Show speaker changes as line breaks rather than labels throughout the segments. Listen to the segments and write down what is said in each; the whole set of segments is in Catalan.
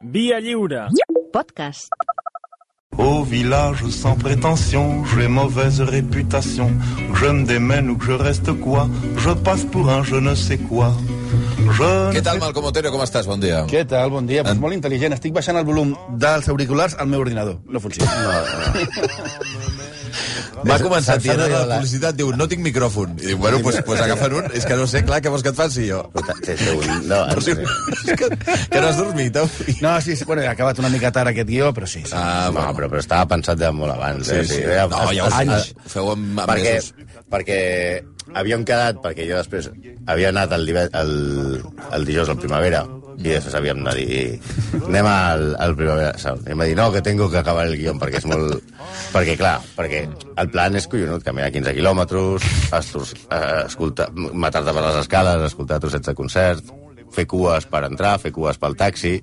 Via lliure.
Podcast.
Au village sans prétention, j'ai mauvaise réputation. Que je me démène ou que je reste quoi, je passe pour un je ne sais quoi. Je
Què tal, Malcom Otero? Com estàs? Bon dia.
Què tal? Bon dia. Pues molt intel·ligent. Estic baixant el volum dels auriculars al meu ordinador. No funciona.
Va començar
S'ha
dient a la
regalat.
publicitat, diu, no tinc micròfon. I diu, bueno, pues, pues agafa'n un. És que no sé, clar, què vols que et faci jo?
Té- té un- No,
Però si,
no sé.
és que, que no has dormit avui.
No, sí, sí, bueno, he acabat una mica tard aquest guió, però sí. sí.
Ah,
no, però, però estava pensat de molt abans.
Sí,
eh?
sí.
eh,
No, ja ho sé,
anys.
ho feu amb- amb
perquè,
mesos.
perquè havíem quedat, perquè jo després havia anat el, dive- el, el dijous al Primavera, i després havíem de dir anem al, al Primavera Sound. I em va dir, no, que tengo que acabar el guion, perquè és molt... perquè, clar, perquè el plan és collonut, caminar 15 quilòmetres, estur- eh, escoltar- matar-te per les escales, escoltar trossets de concert, fer cues per entrar, fer cues pel taxi,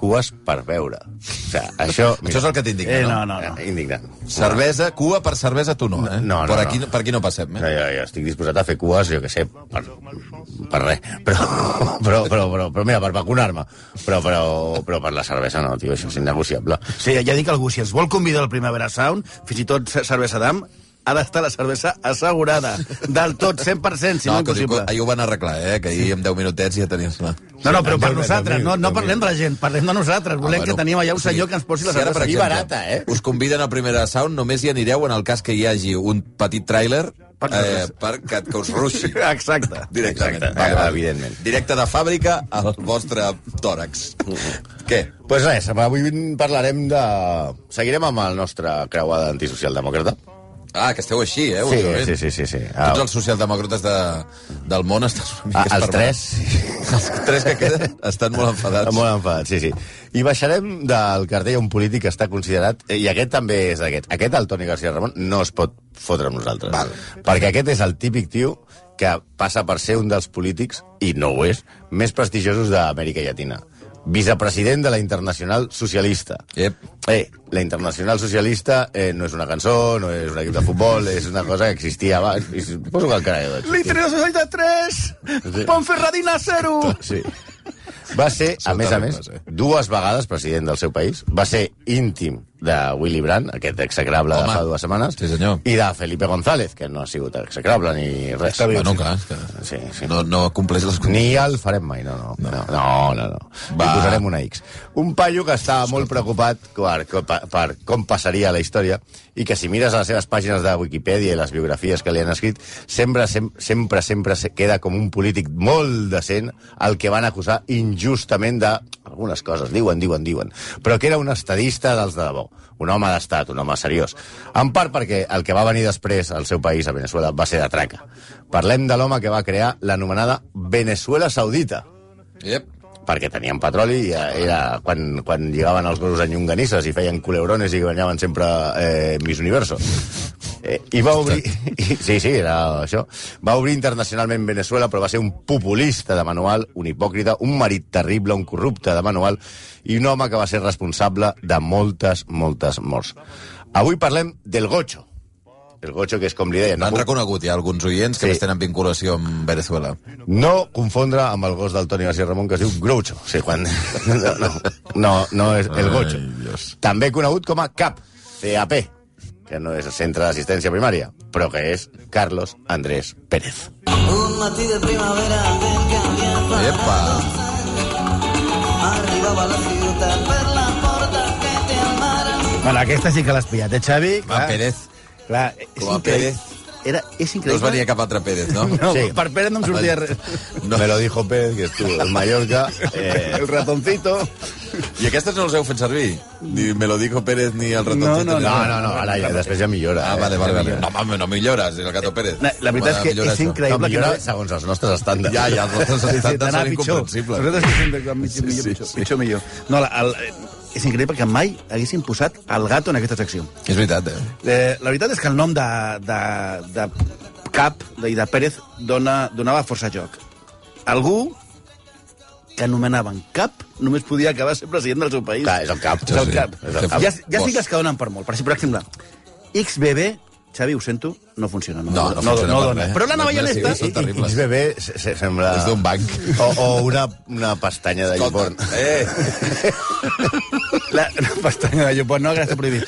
cues per veure. O sigui, això...
Això és el que t'indigna,
Eh,
no?
no, no, no.
Indignant.
Cervesa, cua per cervesa tu no, eh?
No, no,
per
no.
aquí, Per aquí no passem,
No,
eh?
jo, jo estic disposat a fer cues, jo que sé, per, per res. Però, però, però, però, però mira, per vacunar-me. Però, però, però per la cervesa no, tio, això és innegociable.
Sí, ja dic algú, si ens vol convidar al Primavera Sound, fins i tot ce- cervesa d'am, ha d'estar la cervesa assegurada. Del tot, 100%, si no, no
que ho dic,
impossible.
ahir ho van arreglar, eh? Que ahir amb 10 minutets ja tenies la...
No, no, però per
Déu meu,
nosaltres,
Déu
no,
meu,
no
Déu
parlem de
meu.
la gent, parlem de nosaltres.
Ah,
Volem que tenim allà un senyor que ens posi la cervesa.
per
I
exemple,
barat.
barata, eh?
Us conviden a primera sound, només hi anireu en el cas que hi hagi un petit tràiler
Per
eh,
nosaltres.
per que, que us ruixi.
Exacte.
Directament.
Exacte, evidentment.
Directe de fàbrica al vostre tòrax. Què?
Pues res, avui parlarem de... Seguirem amb el nostre creuada antisocialdemòcrata.
Ah, que esteu així, eh?
Sí,
últimament.
sí, sí, sí, sí. Ah.
Tots els socialdemòcrates de, del món estan una mica
Ah, els tres.
Els tres que queden estan molt enfadats.
Molt enfadat, sí, sí. I baixarem del cartell a un polític que està considerat... I aquest també és d'aquest. Aquest, el Toni García Ramon, no es pot fotre amb nosaltres.
Val.
Perquè aquest és el típic tio que passa per ser un dels polítics, i no ho és, més prestigiosos d'Amèrica Llatina. Vicepresident de la Internacional Socialista.
Ep.
Eh, la Internacional Socialista eh, no és una cançó, no és un equip de futbol, és una cosa que existia abans. I suposo que encara deu existir.
Litros 63,
Sí.
Ponferradina 0.
Sí. Va ser, a
Són
més a més,
terribles, eh?
dues vegades president del seu país. Va ser íntim de Willy Brandt, aquest execrable
Home.
de fa dues setmanes,
Sí, senyor.
i de Felipe González, que no ha sigut execrable ni res.
Està viu,
Bueno,
sí.
clar, és que
Sí, sí.
no, no compleix les condicions.
Ni el farem mai, no, no. No, no, no. no.
Va.
Li posarem una X. Un paio que està molt preocupat per, per, per com passaria la història i que si mires les seves pàgines de Wikipedia i les biografies que li han escrit, sempre, sem sempre, sempre se queda com un polític molt decent al que van acusar injustament de algunes coses, diuen, diuen, diuen, però que era un estadista dels de debò, un home d'estat, un home seriós. En part perquè el que va venir després al seu país, a Venezuela, va ser de traca. Parlem de l'home que va crear l'anomenada Venezuela Saudita,
Ep.
perquè tenien petroli i eh, era quan, quan llegaven els gossos en llonganisses i feien culebrones i guanyaven sempre eh, Miss Universo. Eh, I va obrir... I, sí, sí, era això. Va obrir internacionalment Venezuela, però va ser un populista de manual, un hipòcrita, un marit terrible, un corrupte de manual i un home que va ser responsable de moltes, moltes morts. Avui parlem del gocho. El gocho, que és com li deien...
L'han
no?
reconegut ja alguns oients que
Sí.
sí. més tenen vinculació amb Venezuela.
No confondre amb el gos del Toni García Ramon que es diu Groucho. Sí, quan... No, no, no, no és el Gocho. També conegut com a CAP, CAP, que no és el centre d'assistència primària, però que és Carlos Andrés Pérez.
Un matí de primavera ben canviant
Epa!
arribava a la ciutat per la porta que té el mar.
Bueno, aquesta sí que l'has pillat, eh, Xavi?
Va, Pérez.
Clar, és
Com a
increïble.
Pérez.
Era, és
No us
increïble.
venia cap altre Pérez, no?
No,
Sí.
per Pérez no em sortia res.
No. Me lo dijo Pérez, que estuvo en Mallorca. Eh,
El ratoncito.
I aquestes no les heu fet servir? Ni me lo dijo Pérez ni el
No,
ratoncito.
no,
ni
no,
res.
no, no, ara ja, després ja millora.
Ah, vale,
eh?
vale, vale. No, home, no millores, el gato Pérez.
La, la veritat és
Home,
que
millora
és
això.
No,
increïble que
millora segons els nostres estàndards.
Ja, ja, els nostres
Sí, sí,
estàndards
d'anar
són
pitjor.
incomprensibles.
Nosaltres estem de- amb millor,
Sí,
millor,
sí,
pitjor,
sí.
pitjor, millor. No, la, el, eh, és increïble que mai haguessin posat el gato en aquesta secció.
És veritat, eh?
Eh, la veritat és que el nom de, de, de Cap de- i de Pérez dona, donava força joc. Algú que anomenaven Cap només podia acabar sent president del seu país.
Clar, és el cap.
És el
Sí,
cap.
és el cap.
Ja, ja sí
Bosch.
que es que donen per molt. Per, si, per exemple, XBB Xavi, ho sento, no funciona. No,
No, no funciona per
dona.
res. eh?
Però la
No, sí, sí,
navallaneta...
I,
Són
i
terribles.
XBB se- se- sembla...
És d'un banc.
O, o una, una pestanya de Llibon.
Escolta, eh,
La, la pestanya de Llopon, no, que està prohibit.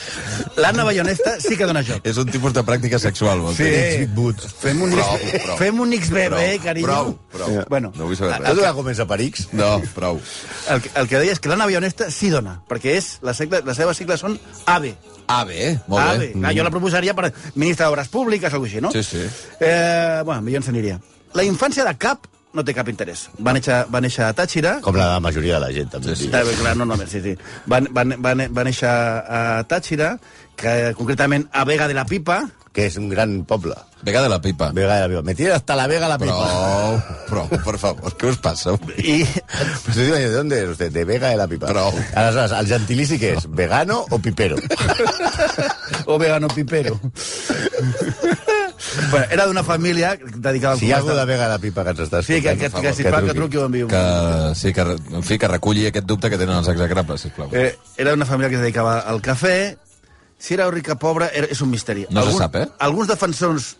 L'Anna Bayonesta sí que dona joc.
és un tipus de pràctica sexual. vol dir.
Fem un,
Prou,
X-
prou.
fem un XBB,
Prou,
eh, carinyo.
prou, prou.
Bueno,
No vull saber
Has
res.
donat comença per X?
No, prou.
el, que- el que deia és que l'Anna Bayonesta sí dona, perquè és, les, segles, les seves sigles són AVE.
Ah, bé, molt
AVE.
bé.
Clar, Ah, jo la proposaria per ministre d'Obres Públiques o alguna així, no?
Sí, sí.
Eh, bueno, millor ens aniria. La infància de cap no té cap interès. Va néixer, va néixer a Tàxira,
Com la majoria de la gent, també.
Sí, sí.
Sí,
Eh, bé, clar, no, no, sí, sí. Va, va, va, va néixer a Tàxira, que concretament a Vega de la Pipa,
Que és un gran poble.
Vega de la pipa.
Vega de la Pipa. Me tira hasta la Vega la Pipa.
Prou, prou, per favor, què us passa?
i
Pues te digo, ¿de dónde es usted? De Vega de la Pipa.
Prou.
Aleshores, el gentilici què és? Vegano o pipero?
o vegano pipero. bueno, era d'una família dedicada al
Si hi ha algú de
comerç.
Vega de la Pipa que ens està
Sí, que, que,
escoltant, per
que,
favor,
que sisplau, que truqui o enviï un...
Que, sí, que, re- en fi, que reculli aquest dubte que tenen els execrables, sisplau.
Eh, era una família que es dedicava al cafè. Si era rica o pobre, era, és un misteri.
No se sap, eh?
Alguns defensors...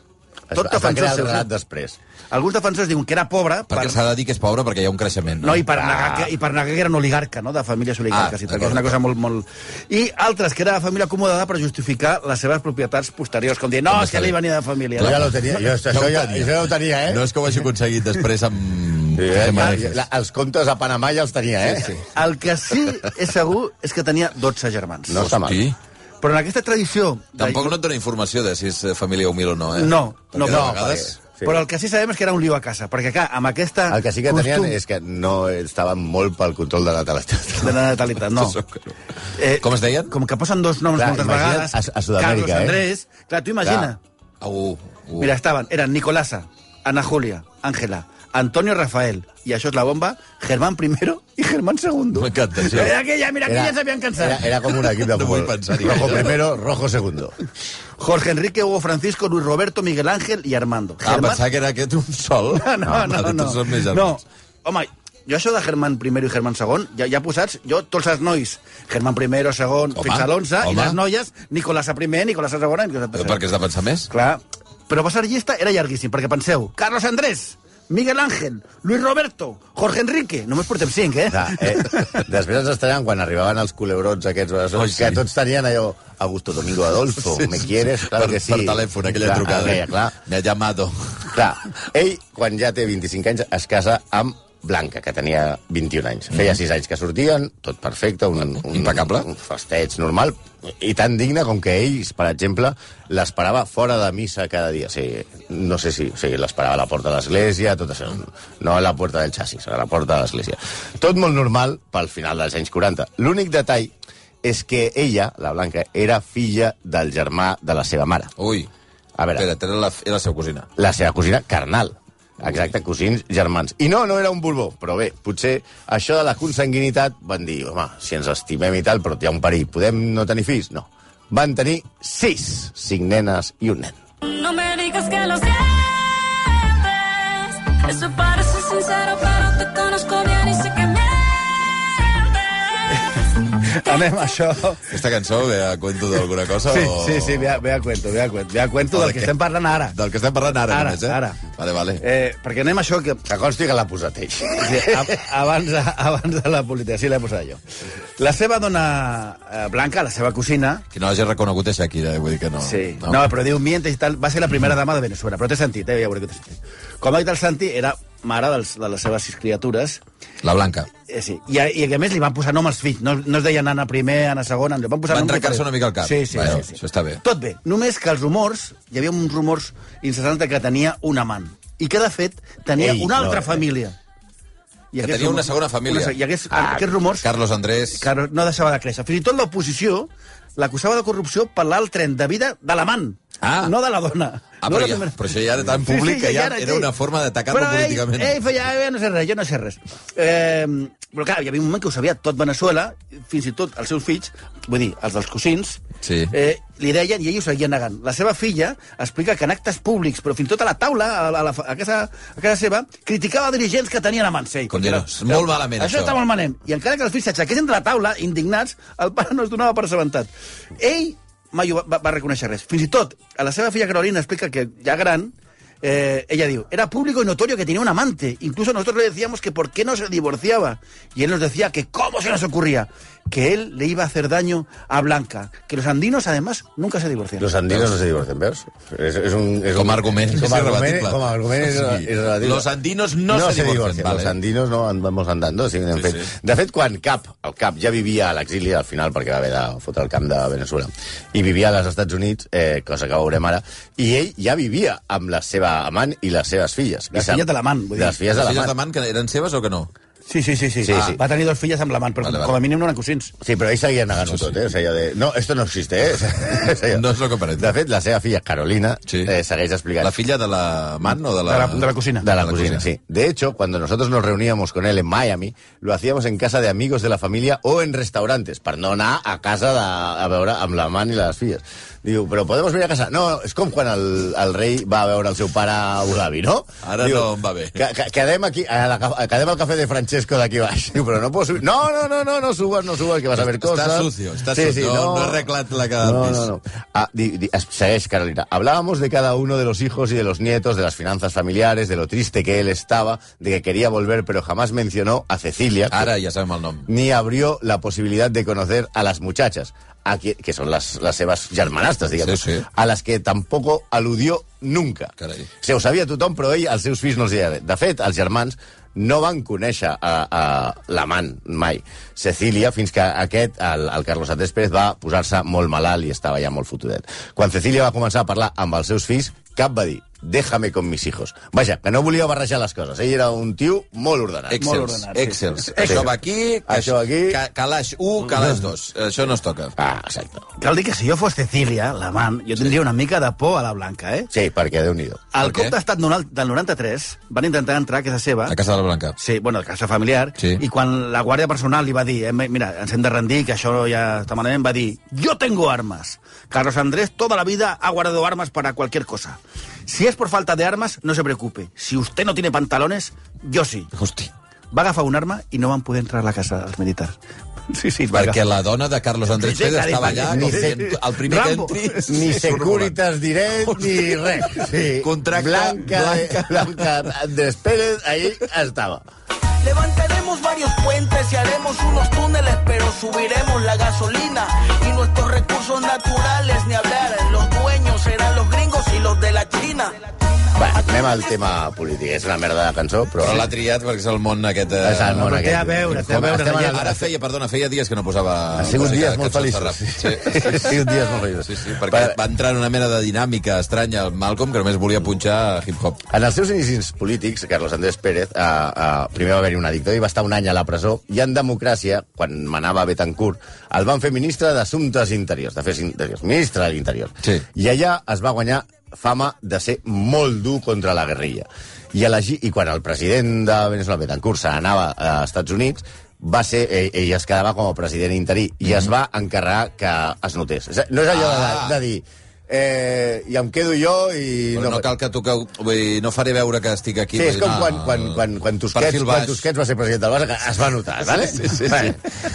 Això,
Tot
es va crear
defensors,
el relat
seus,
després.
eh? alguns defensors diuen que era pobre
Perquè s'ha de dir que és pobre perquè hi ha un creixement.
No, i per,
Ah.
negar que, i per negar que era un oligarca, no?, de famílies oligarques,
Ah,
ah, perquè és una
d'acord.
cosa molt, molt... I altres, que era de família acomodada per justificar les seves propietats posteriors, com dir, no,
Com
és que
està
li
bé.
venia de família. no?"
Jo ja ho tenia, jo, això,
ho
ja,
tenia.
això ja ho tenia, eh?
No és que ho hagi aconseguit després amb...
Sí,
fer
eh?
manejes.
La, els contes a Panamà ja els tenia, eh?
Sí, sí.
El que sí és segur és que tenia 12 germans.
No està mal.
Hosti,
Però en aquesta tradició... de-
Tampoc no et dona informació de si és eh, família humil o no, eh?
No, no,
Perquè
no,
de vegades...
perquè-
Sí. Però el que sí sabem és que era un lío a casa, perquè, clar, amb aquesta...
El que sí que tenien
costum
és que no estaven molt pel control de la teletat.
De la natalitat, no.
Això que no. Com es deien?
Com que posen dos noms
Clar,
moltes
imagina't
vegades.
a- a Sud-amèrica,
Carlos
eh?
Andrés. Clar, tu imagina.
Au, au.
Mira, estaven, eren Nicolasa, Ana Julia, Ángela, Antonio Rafael, i això és la bomba, Germán I i Germán II.
M'encanta, això.
Era aquella, mira, aquella ja s'havien cansat.
Era, era com un equip de
No
futbol.
vull pensar-hi. eh?
rojo primero, rojo segundo.
Jorge Enrique, Hugo Francisco, Luis Roberto, Miguel Ángel i Armando.
Ah, pensava que era aquest un sol.
No, no,
vale,
no.
Tots són més
No, no.
germans.
home, jo això de Germán I i Germán II, ja, ja posats, jo tots els nois, Germán I, II,
Home,
fins a l'11, i
home.
les noies, Nicolasa I, Nicolasa II, Nicolasa
Eh,
III.
Perquè has de pensar més?
Clar, però passar llista era llarguíssim, perquè penseu, Carlos Andrés, Miguel Ángel, Luis Roberto, Jorge Enrique, només portem cinc, eh?
Clar, eh, després ens estranyen quan arribaven els culebrons aquests, oh,
Ai,
sí.
sí.
que tots tenien allò Augusto Domingo Adolfo, sí, me quieres, claro
per,
que sí.
Per telèfon, aquella
clar,
trucada.
Aquella, clar.
Me ha llamado.
Clar, ell, quan ja té 25 anys, es casa amb Blanca, que tenia 21 anys. Feia 6 anys que sortien, tot perfecte, un, un,
Impecable.
un festeig normal, i tan digne com que ell, per exemple, l'esperava fora de missa cada dia. Sí, no sé si sí, l'esperava a la porta de l'església, tot això. No a la porta del xassis, a la porta de l'església. Tot molt normal pel final dels anys 40. L'únic detall és que ella, la Blanca, era filla del germà de la seva mare.
Ui.
A veure.
Espera, era la, era la seva cosina.
la seva cosina carnal. Exacte, cosins, germans. I no, no era un Borbó, però bé, potser això de la consanguinitat van dir, home, si ens estimem i tal, però hi ha un perill, podem no tenir fills? No. Van tenir sis, cinc nenes i un nen.
No me digas que lo sientes. Eso parece sincero, pero te conozco bien y sé que mientes.
Anem, això...
Aquesta cançó ve a cuento d'alguna cosa?
Sí,
o...
sí, sí, ve a, ve a cuento, ve a cuento, ve a cuento
O de
del que
què?
estem parlant ara.
Del que estem parlant ara,
Ara,
només, eh?
ara.
Vale, vale.
Eh, perquè anem a això que...
Que consti que l'ha posat ell.
Sí, a, abans, de, abans de la política, sí, l'he posat jo. La seva dona eh, Blanca, la seva cosina,
Qui no l'hagi reconegut és Shakira, eh? vull dir que no.
Sí. No, però diu mientes i tal. Va ser la primera dama de Venezuela, però té sentit, eh? Ja veuré que té sentit. Com ha dit el Santi, era mare dels, de les seves sis criatures.
La Blanca.
Eh, sí. I, a, I, a més, li van posar nom als fills. No, no es deien Anna primer, Anna segona... Li van posar
Van
nom
trencar-se
diferent.
una mica el cap.
Sí, sí,
Bueno,
sí, sí.
això està bé.
Tot bé. Només que els rumors... Hi havia uns rumors incessants de que tenia un amant. I que, de fet, tenia
Ei,
una altra
no, eh.
família. I
Que
aquests
tenia una
rumors-
segona família.
se- I aquests,
Ah,
aquests rumors...
Carlos Andrés...
que no deixava de créixer. Fins i tot l'oposició l'acusava de corrupció per l'alt tren de vida de l'amant,
Ah.
no de la dona.
Ah,
no
però,
la
ja,
primera.
però això ja era tan públic que ja era
sí.
una forma d'atacar-lo
Però
políticament.
Ell, ell feia, eh, no sé res, jo no sé res. Eh, però clar, hi havia un moment que ho sabia tot Venezuela, fins i tot els seus fills, vull dir, els dels cosins,
Sí.
eh, li deien i ell ho seguia negant. La seva filla explica que en actes públics, però fins i tot a la taula, a, la, a, la, fa- a, casa, a casa seva, criticava dirigents que tenien amants. ell,
Com
perquè
dir-ho, és molt malament,
Això,
això.
està molt malament. I encara que els fills s'aixequessin de la taula, indignats, el pare no es donava per assabentat. Ell mai ho va, va- va reconèixer res. Fins i tot, a la seva filla Carolina explica que ja gran, eh, ella diu, era público y notorio que tenía un amante. Incluso nosotros le decíamos que por qué no se divorciaba. Y él nos decía que cómo se nos ocurría. Que él le iba a hacer daño a Blanca. Que los andinos, además, nunca se divorcian.
Los andinos no se divorcien, veus? És, és un, és
Com
un...
a argument és
com a argument,
irrebatible.
com a argument és,
O sigui,
és irrebatible.
los andinos no se divorcien, vale.
Los andinos no andamos andando. Sí, sí,
Sí,
fet.
sí.
Sí. De fet, quan Cap, el Cap ja vivia a l'exili al final, perquè va haver de fotre el camp de Venezuela, i vivia als Estats Units, eh, cosa que veurem ara, i ell ja vivia amb la seva amant i les seves filles.
Les
I sap-
filles de l'amant, vull dir.
Les filles de
Les filles de
l'amant.
Man, que eren seves o que no?
Sí, sí, sí. sí.
Sí,
Ah,
sí.
Va tenir dos filles amb l'amant, però
Vale, vale.
com a mínim no eren cosins.
Sí, però ell seguia negant-ho tot, eh? O sigui, allò de... No, esto no existe, eh? O sigui,
No és lo que pareix.
De fet, la seva filla, Carolina,
Sí.
eh, segueix explicant...
La filla de la Man o de la...
De la- de la cosina.
De la cocina, sí. De hecho, cuando nosotros nos reuníamos con él en Miami, lo hacíamos en casa de amigos de la familia o en restaurantes, per no anar a casa de, a veure amb la man i les filles. Diu, però podem venir a casa? No, és com quan el, el rei va a veure el seu pare a Abu Dhabi, no?
Ara no em va bé.
"Que- que- Quedem aquí, a la, ca- quedem al cafè de Francesco d'aquí baix. Diu, però no puedo subir. No, no, no, no, no subas, no subas, que vas a ver
Està
cosas.
sucio, està sucio. No, no he arreglat la quedada
No,
més.
no, no. Ah, di- di- es- segueix, Carolina. Hablábamos de cada uno de los hijos y de los nietos, de las finanzas familiares, de lo triste que él estaba, de que quería volver, pero jamás mencionó a Cecilia, que
Ara ja sabem el nom.
ni abrió la posibilidad de conocer a las muchachas, a que, que son las, las Evas germanastas, digamos,
Sí, sí.
a las que tampoco aludió nunca.
Carai.
Se ho sabia tothom, però ell, els seus fills no els deia res. De fet, els germans no van conèixer a, a l'amant mai, Cecília, fins que aquest, el, el Carlos Andrés Pérez, va posar-se molt malalt i estava ja molt fotudet. Quan Cecília va començar a parlar amb els seus fills, cap va dir, déjame con mis hijos. Vaja, que no volia barrejar les coses. Ell era un tio molt ordenat.
Molt
Excels,
ordenat, sí.
excels. Això va aquí,
Això aquí. Mm.
ca- calaix 1, calaix 2. Això no es toca.
Ah, exacte.
Cal dir que si jo fos Cecília, l'amant, jo tindria una mica de por a la Blanca, eh?
Sí, perquè déu nhi
Al
Per què?
cop d'estat nonal- del 93 van intentar entrar a casa seva...
A casa de la Blanca.
Sí, bueno, a casa familiar.
Sí.
I quan la guàrdia personal li va dir, eh, mira, ens hem de rendir, que això ja està malament, va dir, yo tengo armas. Carlos Andrés toda la vida ha guardado armas para cualquier cosa. Si es por falta de armas, no se preocupe. Si usted no tiene pantalones, yo sí.
Hosti.
Va agafar un arma i no van poder entrar a la casa dels militars. Sí, sí, va
Perquè
agafar.
la dona de Carlos Andrés
Sí,
Pérez
clar,
estava
ni-
allà,
ni-
com dient, el primer que
Rambo.
entri...
ni
Sí, surt volant.
Securitas Direct, ni res. Sí.
Contracte
Blanca,
Blanca.
Blanca Andrés Pérez, ahí estava.
Levantaremos varios puentes y haremos unos túneles, pero subiremos la gasolina y nuestros recursos naturales ni hablar. Los dueños serán los gringos y los de la China.
Va, anem al tema polític. És una merda de cançó, però...
Però l'ha triat perquè és el món aquest... Eh...
És el món
Però
aquest.
té a veure, té a
Com
veure,
estem
la
en el-
Ara feia, perdona, feia dies que no posava...
Ha sigut
música
dies
de
molt
cançons de
feliços.
rap. Sí.
Ha sigut dies molt feliços.
Sí, sí, perquè
Per-
va entrar en una mena de dinàmica estranya al Malcolm que només volia punxar hip-hop.
En els seus inicis polítics, Carlos Andrés Pérez, eh, eh, primer va haver-hi un dictador i va estar un any a la presó, i en democràcia, quan manava Betancourt, el van fer ministre d'Assumptes Interiors, d'Afers Interiors, ministre de l'Interior.
Sí.
I allà es va guanyar fama de ser molt dur contra la guerrilla. I, elegi, i quan el president de Venezuela, Betancourt, se n'anava a Estats Units, va ser, ell, ell es quedava com a president interí i es va encarregar que es notés. És a- No és allò
Mhm. Ah.
de, de dir eh, i em quedo jo i...
Però no, cal que toqueu... Vull dir, no faré veure que estic aquí.
Sí, és
vull dir,
com
no,
quan, quan, quan, quan, Tusquets,
Perfil
quan
baix.
Tusquets va ser president del Barça, que es va notar, ¿vale?
sí, sí, sí.
Vale.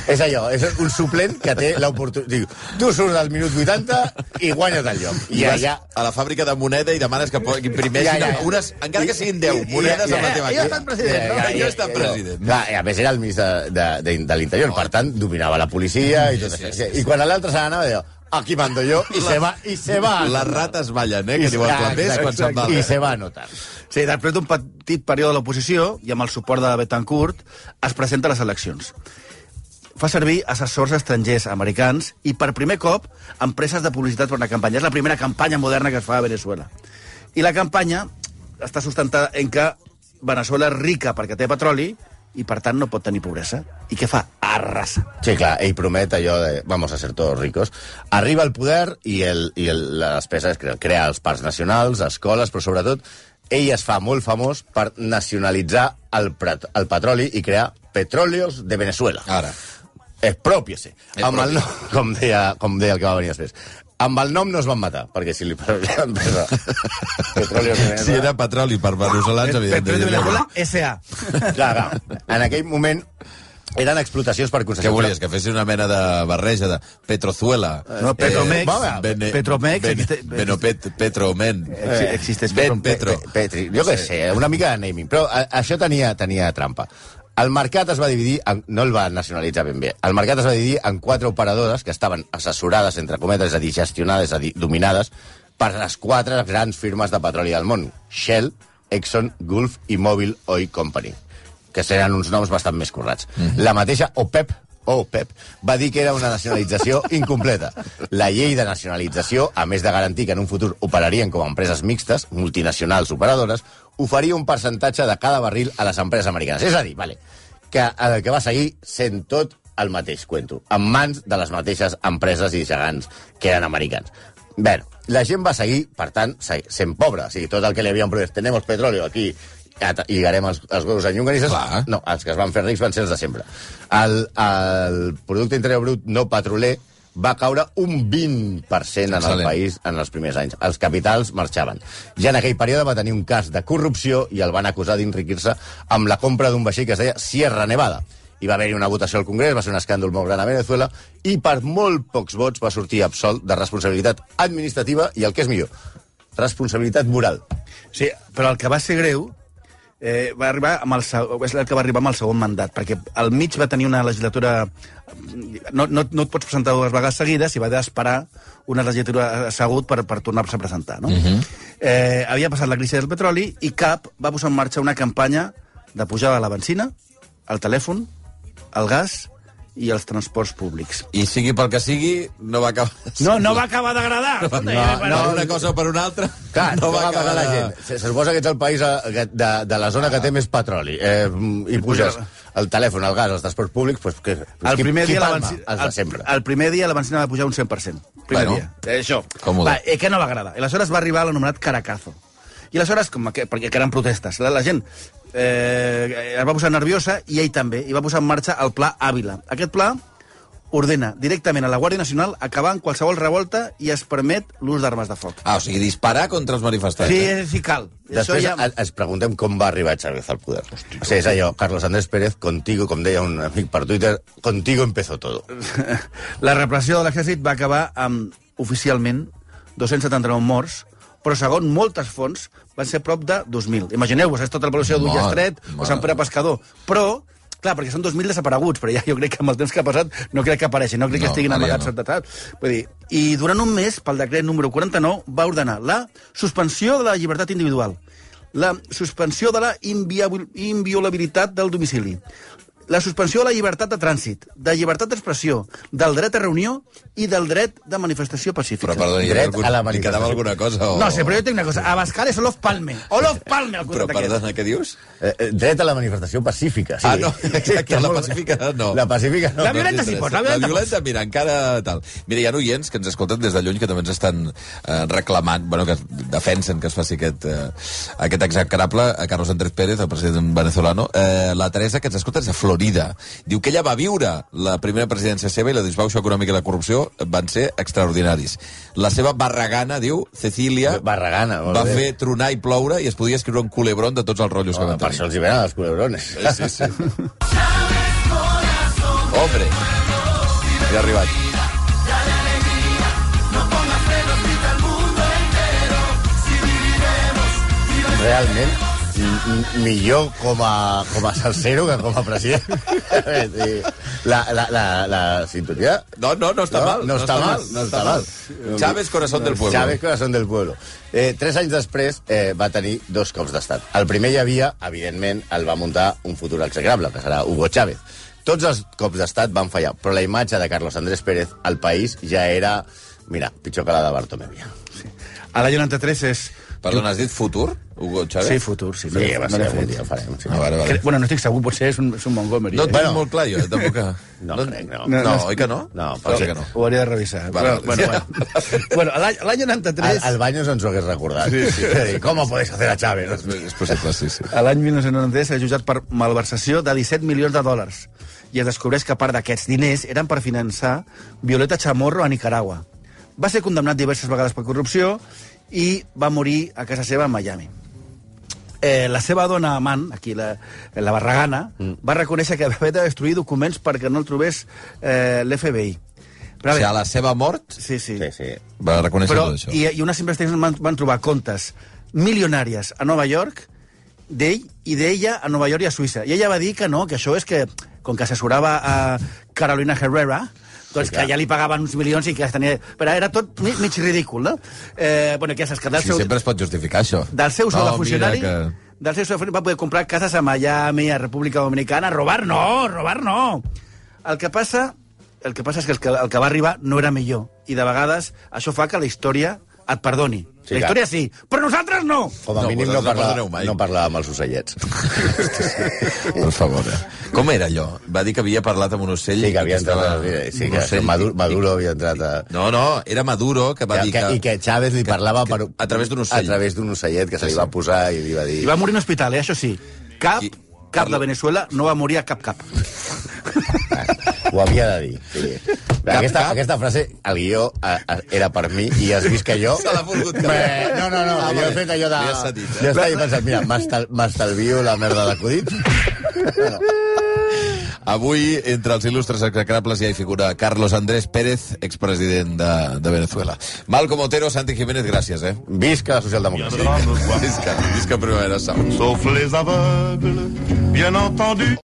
És allò, és un suplent que té l'oportunitat... Diu, tu surts al minut 80 i guanya't el lloc.
I vas a la fàbrica de moneda i demanes que, po- que imprimeixin
Ja, ja, ja.
unes, encara que siguin 10
I- i-
monedes
i-
amb la teva
ja, ja
cara.
estan president, no?
Ja, ja estan president.
Clar, i a més era el ministre de, de, de l'Interior, per tant, dominava la policia i tot
Sí, sí,
això. I quan l'altre se n'anava, deia, aquí mando jo, i se va, i se va.
Les rates ballen, eh, que diu el
Ah,
clavés
exacte,
quan se'n va.
I se va notar.
Sí, després d'un petit període de l'oposició i amb el suport de Betancourt es presenta a les eleccions. Fa servir assessors estrangers americans i per primer cop empreses de publicitat per una campanya. És la primera campanya moderna que es fa a Venezuela. I la campanya està sustentada en que Venezuela és rica perquè té petroli i, per tant, no pot tenir pobresa. I què fa? Arrasa.
Sí, clar, ell promet allò de vamos a ser todos ricos. Arriba al poder i, el, i el, la despesa es crea, crea els parcs nacionals, escoles, però sobretot ell es fa molt famós per nacionalitzar el, prat- el petroli i crear Petróleos de Venezuela.
Ara.
Expropiese. Amb el nom, com deia, com deia el que va venir després. Amb el nom no es van matar, perquè si li Petróleos de Venezuela...
Si era petroli per veneçolans,
Petróleo eh? de
evidentment.
Venezuela, S.A.
Clar, clar. En aquell moment eren explotacions per concessió.
Què volies? Que fessin una mena de barreja de Petrozuela. Eh,
No, Petromex.
va,
Bene-
Petromex,
Bene-
existe-
Benopet- Petromen.
Exi- existeix
Ben
Petrom-
Petro.
Pe- Petri, jo què sé, eh, una mica de naming. Però a, això tenia, tenia trampa. El mercat es va dividir, en, no el va nacionalitzar ben bé, el mercat es va dividir en quatre operadores que estaven assessorades, entre cometes, és a dir, gestionades, és a dir, dominades, per les quatre grans firmes de petroli del món. Shell, Exxon, Gulf i Mobil Oil Company, que seran uns noms bastant més currats. La mateixa OPEP, OPEP va dir que era una nacionalització incompleta. La llei de nacionalització, a més de garantir que en un futur operarien com a empreses mixtes, multinacionals operadores, oferia un percentatge de cada barril a les empreses americanes. És a dir, vale, que el que va seguir sent tot el mateix cuento, en mans de les mateixes empreses i gegants que eren americans. Bé, la gent va seguir, per tant, se- sent pobra. O sigui, tot el que li havien promès, tenemos petróleo aquí, at- i garem els, els huevos en llonganisses,
Clar.
no, els que es van fer rics van ser els de sempre. El, el producte interior brut no petroler va caure un 20% en el
Excel·lent.
país en els primers anys. Els capitals marxaven. Ja en aquell període va tenir un cas de corrupció i el van acusar d'enriquir-se amb la compra d'un vaixell que es deia Sierra Nevada. Hi va haver una votació al Congrés, va ser un escàndol molt gran a Venezuela, i per molt pocs vots va sortir absolt de responsabilitat administrativa i el que és millor, responsabilitat moral.
Sí, però el que va ser greu eh, va arribar amb el, seg- és el que va arribar amb el segon mandat, perquè al mig va tenir una legislatura... No, no, no et pots presentar dues vegades seguides i va d'esperar una legislatura eh, assegut per, per tornar-se a presentar. No? Uh
Mhm.
-huh. eh, havia passat la crisi del petroli i CAP va posar en marxa una campanya de pujada de la benzina, el telèfon, el gas i els transports públics.
I sigui pel que sigui, no va acabar...
No, no va acabar d'agradar.
No, no, per una cosa o per una altra,
Clar, no va acabar la
de-
gent. Se, se suposa que ets el país eh, que- de, de la zona que té més petroli. Eh, I puges el telèfon, el gas, els transports públics... Pues, que, pues,
El primer,
qui,
dia
qui
la
palma?
benzina,
Els de sempre.
El, el primer dia la benzina va pujar un 100%. Primer
Bueno,
dia. Eh, Això.
còmode.
Va, eh, que no va agradar. I aleshores va arribar l'anomenat Caracazo. I aleshores, com que, perquè que eren protestes, la, la gent eh, es va posar nerviosa i ell també. I va posar en marxa el Pla Ávila. Aquest pla ordena directament a la Guàrdia Nacional acabar amb qualsevol revolta i es permet l'ús d'armes de foc.
Ah, o sigui, disparar contra els manifestants.
Sí,
eh?
eh, sí, cal.
Després
Això ja...
ja... ens preguntem com va arribar Chávez al poder. O sigui, és allò, Carlos Andrés Pérez, contigo, com deia un amic per Twitter, contigo empezó todo.
La repressió de l'exèrcit va acabar amb, oficialment, 279 morts, però segons moltes fonts van ser prop de 2.000. Imagineu-vos, és tota la població d'un
Mare,
Llastret o
mare.
Sant Pere Pescador. Però, clar, perquè són 2.000 desapareguts, però ja jo crec que amb el temps que ha passat no crec que apareixin, no crec que
No,
estiguin
ara ja
amagats.
no.
No. Vull dir, I durant un mes, pel decret número 49, va ordenar la suspensió de la llibertat individual, la suspensió de la inviabil- inviolabilitat del domicili, la suspensió de la llibertat de trànsit, de llibertat d'expressió, del dret a reunió i del dret de manifestació pacífica.
Però, perdoni, hi havia
Dret a la
algun, li quedava
manifestació.
alguna cosa? O...
No sé, però jo tinc una cosa. Abascal és Olof Palme. Olof Palme al
Però,
costat d'aquest.
perdona, què dius?
Eh, eh, dret a la manifestació pacífica. Sí.
Ah, no, exacte, la
Molt bé.
pacífica no.
La pacífica no.
La violenta sí pot, la violenta
La violenta, mira, encara tal. Mira, hi ha oients que ens escolten des de lluny que també ens estan eh, reclamant, bueno, que defensen que es faci aquest, eh, aquest execrable a Carlos Andrés Pérez, el president venezolano. Eh, la Teresa, que ens escolta des de Florida, diu que ella va viure la primera presidència seva i la disbauxa econòmica i la corrupció van ser extraordinaris. La seva barragana, diu, Cecília,
Barragana. molt
va
bé.
fer tronar i ploure i es podia escriure un culebron de tots els rotllos que
Ah,
van
per
tenir.
això els hi venen els culebrones.
Sí, sí. Hombre. Ja ha arribat.
realment m- m- millor com a, com a salsero que com a president. És a dir, la, la, la, la sintonia...
No, no, no està
No,
mal.
no està mal, no està mal.
Chávez, corazón del pueblo.
Chávez Corazón del Pueblo. Eh, tres anys després eh, va tenir dos cops d'estat. El primer hi havia, evidentment, el va muntar un futur execrable, que serà Hugo Chávez. Tots els cops d'estat van fallar, però la imatge de Carlos Andrés Pérez al país ja era, mira, pitjor que la de Bartomeu.
A la 93 és...
Perdona, has dit futur, Hugo Chávez?
Sí, futur, sí.
Sí, va ser
l'he
algun
fet.
dia, ho farem. Sí.
Ah, vale, vale.
Cre- Bueno, no estic segur, potser és un, és un Montgomery.
No
eh?
et bueno. molt clar, jo, eh, tampoc. que-
No, crec, no.
No,
no,
oi que no?
no,
però
però
sí.
sí.
que no.
Ho hauré de revisar.
Vale, vale.
bueno, bueno, bueno. bueno a l'any- a l'any 93...
Al, al baño ens ho hagués recordat. Sí, sí, sí. Com podés hacer a Chávez?
És possible, sí, sí.
A l'any 1993 és jutjat per malversació de 17 milions de dòlars i es descobreix que part d'aquests diners eren per finançar Violeta Chamorro a Nicaragua. Va ser condemnat diverses vegades per corrupció i va morir a casa seva a Miami. eh, la seva dona amant, aquí la, la barragana, mm. va reconèixer que va haver de destruir documents perquè no el trobés eh, l'FBI.
O sigui, a la seva mort
sí, sí.
Sí, sí.
va reconèixer
Però,
tot això.
i, I unes investigacions van, van trobar comptes milionàries a Nova York d'ell i d'ella a Nova York i a Suïssa. I ella va dir que no, que això és que, com que assessorava a Carolina Herrera, doncs que ja li pagaven uns milions i que es tenia... Però era tot mi- mig ridícul, no? Eh, bueno, que s'ha quedat...
Sí, sempre es pot justificar, això.
del seu sou
No,
de funcionari...
Oh, mira que-
Del seu sou de funcionari va poder comprar cases a Miami, a República Dominicana... Robar no, robar no! El que passa, el que passa és que el, que el que va arribar no era millor. I de vegades això fa que la història et perdoni.
Sí,
la
clar.
història sí, però nosaltres no!
Com a
No,
no, mínim no,
vosaltres no
parla,
perdoneu mai.
no parlava amb els ocellets.
Per favor. eh. Com era allò? Va dir que havia parlat amb un ocell...
Sí, que havia
i
entrat...
estava-
a- Sí,
un
que
ocell-
Maduro, Maduro havia entrat a...
No, no, era Maduro que va
Que,
dir
que,
que...
I que Chávez li parlava
que-
per...
a través d'un ocell.
A través d'un ocellet que se
Sí,
li
sí.
va posar i li va dir...
I va morir en hospital, eh, això sí. Cap,
I-
cap
Carla-
de Venezuela no va morir a cap cap.
Ho havia de dir. Sí. Aquesta, aquesta frase, el guió a, a, era per mi i has vist que jo...
Se l'ha volgut
Me-
carregar.
No, no, no,
Ah,
ah, jo
vale.
he fet allò de...
Li has cedit, eh?
Jo estava i pensant, mira, m'estal- m'estalvio la merda d'acudit.
Avui, entre els il·lustres execrables, hi ha figura Carlos Andrés Pérez, expresident de, de Venezuela. Malcom Otero, Santi Jiménez, gràcies, eh?
Visca la socialdemocràcia.
Viendra me voir,
Visca, visca Primavera Sound.
Sauf les aveugles, bien entendu.